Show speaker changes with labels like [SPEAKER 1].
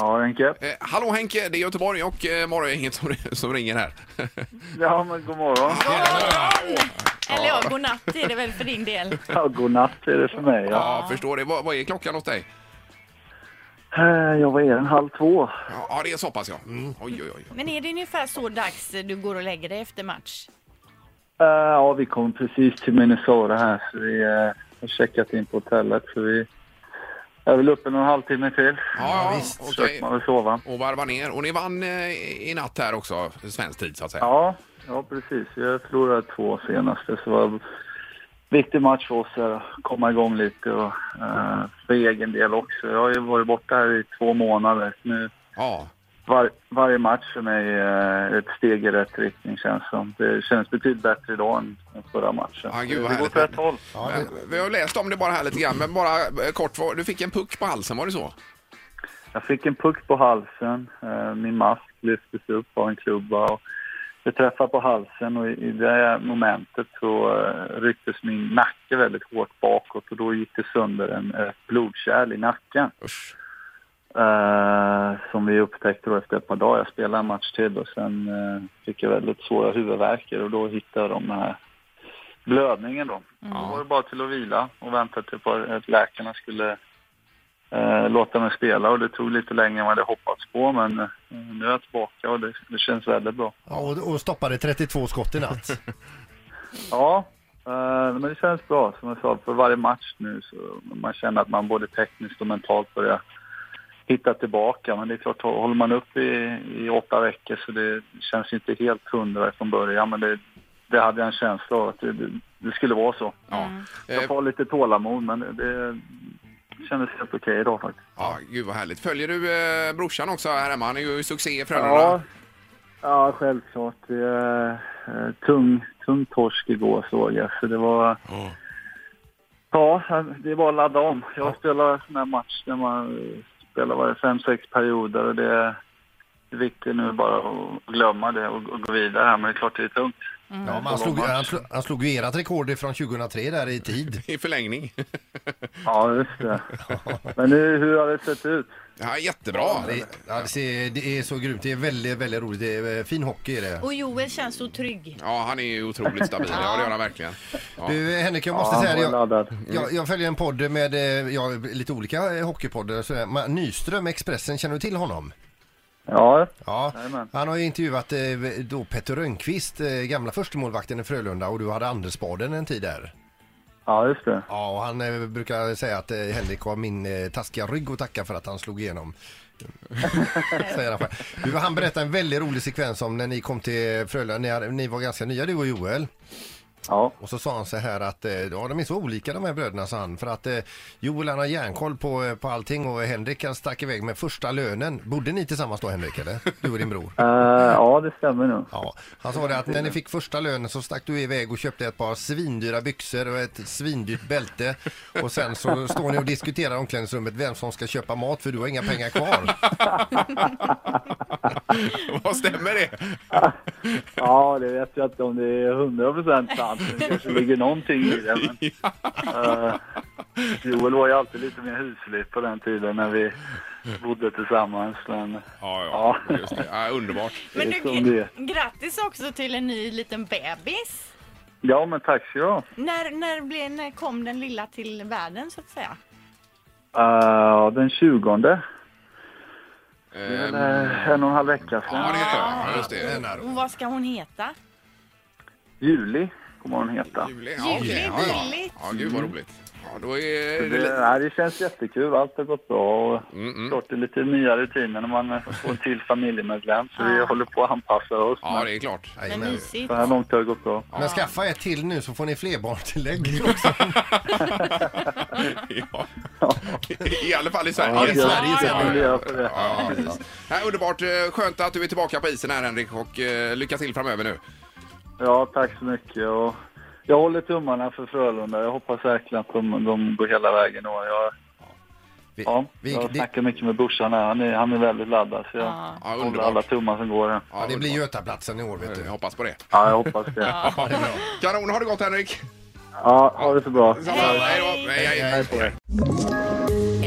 [SPEAKER 1] Ja, Henke.
[SPEAKER 2] Eh, hallå Henke, det är Göteborg och eh, Morgongänget som, som ringer här.
[SPEAKER 1] Ja, men god morgon.
[SPEAKER 3] Eller ja, godnatt är det väl för din del.
[SPEAKER 1] Ja, god natt är det för mig. Ja.
[SPEAKER 2] ja, förstår det. Vad, vad är klockan hos dig?
[SPEAKER 1] Eh, Jag var en halv två.
[SPEAKER 2] Ja, ja, det är så pass ja. Mm, Oj, oj, oj.
[SPEAKER 3] Men är det ungefär så dags du går och lägger dig efter match?
[SPEAKER 1] Eh, Ja, vi kom precis till Minnesota här, så vi eh, har checkat in på hotellet. Så vi är väl uppe någon halvtimme till.
[SPEAKER 2] Ja, ja,
[SPEAKER 1] Försöker
[SPEAKER 2] okej.
[SPEAKER 1] man väl sova.
[SPEAKER 2] Och varva ner. Och ni vann eh, i natt här också, svensk tid så att säga.
[SPEAKER 1] Ja, ja precis. Vi förlorade två senaste, så det var en viktig match för oss här att komma igång lite och eh, för egen del också. Jag har ju varit borta här i två månader. Nu
[SPEAKER 2] Ja,
[SPEAKER 1] var, varje match för mig är ett steg i rätt riktning känns som. Det känns betydligt bättre idag än än förra matchen.
[SPEAKER 2] Ja, gud, vad
[SPEAKER 1] det går
[SPEAKER 2] härligt.
[SPEAKER 1] åt rätt håll.
[SPEAKER 2] Men, vi har läst om det bara här lite grann, men bara eh, kort. vad- Du fick en puck på halsen, var det så?
[SPEAKER 1] Jag fick en puck på halsen. Eh, Min mask lyftes upp av en klubba. Och jag träffade på halsen och i i det momentet så eh, rycktes min nacke väldigt hårt bakåt och då gick det sönder en eh, blodkärl i nacken.
[SPEAKER 2] Usch.
[SPEAKER 1] Eh, som vi upptäckte då efter ett par dagar. Jag spelade en match till och sen eh, fick jag väldigt svåra huvudvärker och då hittade de den här blödningen då. Då var det bara till att vila och vänta till på att läkarna skulle eh, låta mig spela och det tog lite längre än vad jag hade hoppats på men eh, nu är jag tillbaka och det, det känns väldigt bra.
[SPEAKER 4] Ja, och, och stoppade 32 skott i natt.
[SPEAKER 1] Ja, eh, men det känns bra som jag sa för varje match nu så man känner att man både tekniskt och mentalt börjar hitta tillbaka. Men det är klart, håller man upp i, i åtta veckor så det känns ju inte helt hundra från början. Men det, det hade jag en känsla av att det, det, det skulle vara så.
[SPEAKER 2] Ja.
[SPEAKER 1] Jag
[SPEAKER 2] Eh,
[SPEAKER 1] får ha lite tålamod men det, det kändes helt okej idag faktiskt.
[SPEAKER 2] ja, gud vad härligt. Följer du eh, brorsan också här hemma? Han är ju succé i Frölunda.
[SPEAKER 1] Ja, ja självklart. Det är, eh, tung, tung torsk igår såg jag. Så det var...
[SPEAKER 2] Ja.
[SPEAKER 1] Ja, det är bara att ladda om. Jag spelar sån här match när man eh, spelar varje fem, sex perioder och det är viktigt nu bara att glömma det och och gå vidare här. Men det är klart det är tungt.
[SPEAKER 4] Ja, men han, slog, han, slog, han slog ju ert rekord från 2003 där i tid.
[SPEAKER 2] I förlängning.
[SPEAKER 1] Ja, just det. Men nu, hur har det sett ut?
[SPEAKER 2] Ja, jättebra.
[SPEAKER 4] Det, ja, det, ser, det är så grymt. Det är väldigt, väldigt roligt. Det är eh, fin hockey är det.
[SPEAKER 3] Och Joel känns så trygg.
[SPEAKER 2] Ja, han är ju otroligt stabil. Ja, det gör han verkligen. Ja.
[SPEAKER 4] Du, Henrik, jag måste
[SPEAKER 1] Ja,
[SPEAKER 4] säga
[SPEAKER 1] han
[SPEAKER 4] det.
[SPEAKER 1] var
[SPEAKER 4] Jag,
[SPEAKER 1] laddad.
[SPEAKER 4] jag, jag följer en podd med eh, ja, lite olika eh, hockeypoddar. och sådär. Ma- Nyström, Expressen, känner du till honom?
[SPEAKER 1] Ja,
[SPEAKER 4] Ja,
[SPEAKER 1] Jajamän.
[SPEAKER 4] han har ju intervjuat eh, då Petter Rönnqvist, eh, gamla förstemålvakten i Frölunda och du hade Andersbaden en tid där.
[SPEAKER 1] ja just det.
[SPEAKER 4] Ja, och han eh, brukar säga att eh, Henrik har min eh, taskiga rygg att tacka för att han slog igenom. Säger han, själv. du, han berättar en väldigt rolig sekvens om när ni kom till Frölunda. Ni, hade- ni var ganska nya du och Joel.
[SPEAKER 1] Ja,
[SPEAKER 4] Och så sa han så här att eh, ja, de är så olika de här bröderna sa han. För att eh, Joel han har järnkoll på, eh, på allting och Henrik han stack iväg med första lönen. Bodde ni tillsammans då Henrik eller? Du och din bror?
[SPEAKER 1] Eh, ja det stämmer nog.
[SPEAKER 4] Ja, han sa det att när ni fick första lönen så stack du iväg och köpte ett par svindyra byxor och ett svindyrt bälte. Och sen så står ni och diskuterar i omklädningsrummet vem som ska köpa mat för du har inga pengar kvar.
[SPEAKER 2] Vad stämmer det?
[SPEAKER 1] Ja, det vet jag inte om det är 100 procent sant. men Det kanske ligger någonting i det. Men, Eh, Joel var ju alltid lite mer huslig på den tiden när vi bodde tillsammans. Men
[SPEAKER 2] Ja, ja. Just det. ja underbart.
[SPEAKER 1] Det
[SPEAKER 3] Men du,
[SPEAKER 1] är som det är.
[SPEAKER 3] grattis också till en ny liten bebis.
[SPEAKER 1] Ja, men tack så du ha. Eh,
[SPEAKER 3] När, när, blev, när kom den lilla till världen så att säga?
[SPEAKER 1] Eh, den 20. Det är
[SPEAKER 2] Ehm,
[SPEAKER 1] väl, eh, en och en halv vecka sedan.
[SPEAKER 2] Ja, det är det. Ja, just det.
[SPEAKER 3] Och vad ska hon heta?
[SPEAKER 1] Juli kommer hon heta.
[SPEAKER 2] Juli. Ja, okej.
[SPEAKER 3] Juli,
[SPEAKER 2] Ja, ja.
[SPEAKER 3] billigt.
[SPEAKER 2] ja, gud vad roligt. Ja, då är det...
[SPEAKER 1] Det,
[SPEAKER 2] li-
[SPEAKER 1] nej, det känns jättekul. Allt har gått bra. Och
[SPEAKER 2] Mm,
[SPEAKER 1] Klart det är lite nya rutiner när man eh, får en till familjemedlem. Så vi håller på att anpassa oss.
[SPEAKER 2] Ja, det är klart.
[SPEAKER 3] Men
[SPEAKER 4] Jajamän.
[SPEAKER 3] mysigt.
[SPEAKER 1] Så här långt har det gått bra.
[SPEAKER 4] Men skaffa ett till nu så får ni flerbarnstillägg också.
[SPEAKER 2] Ja. I alla fall i Sverige.
[SPEAKER 1] Ja,
[SPEAKER 4] Sverige
[SPEAKER 1] jag
[SPEAKER 4] ser
[SPEAKER 1] ska
[SPEAKER 4] man.
[SPEAKER 1] fundera på det.
[SPEAKER 2] Ja, precis. Nej, underbart. Eh, Skönt att du är tillbaka på isen här, Henrik. Och eh, lycka till framöver nu.
[SPEAKER 1] Ja, tack så mycket. Och jag håller tummarna för Frölunda. Jag hoppas verkligen att de, de går hela vägen. Och jag,
[SPEAKER 4] Vi-
[SPEAKER 1] ja,
[SPEAKER 4] vi-
[SPEAKER 1] jag
[SPEAKER 4] det-
[SPEAKER 1] snackar mycket med brorsan. här. Han är, han är väldigt laddad. Så jag
[SPEAKER 3] Ja.
[SPEAKER 2] Ja,
[SPEAKER 1] håller
[SPEAKER 2] underbart.
[SPEAKER 1] alla tummar som går. här.
[SPEAKER 4] Ja, det blir
[SPEAKER 2] underbart.
[SPEAKER 4] Götaplatsen i år vet du.
[SPEAKER 2] Jag hoppas på det.
[SPEAKER 1] Ja, jag hoppas det.
[SPEAKER 4] Ja, det är bra.
[SPEAKER 2] Kanon, ha det gott Henrik!
[SPEAKER 1] Ja, ha det så bra.
[SPEAKER 2] Hej då! Hej, hej.
[SPEAKER 4] Hej, hej.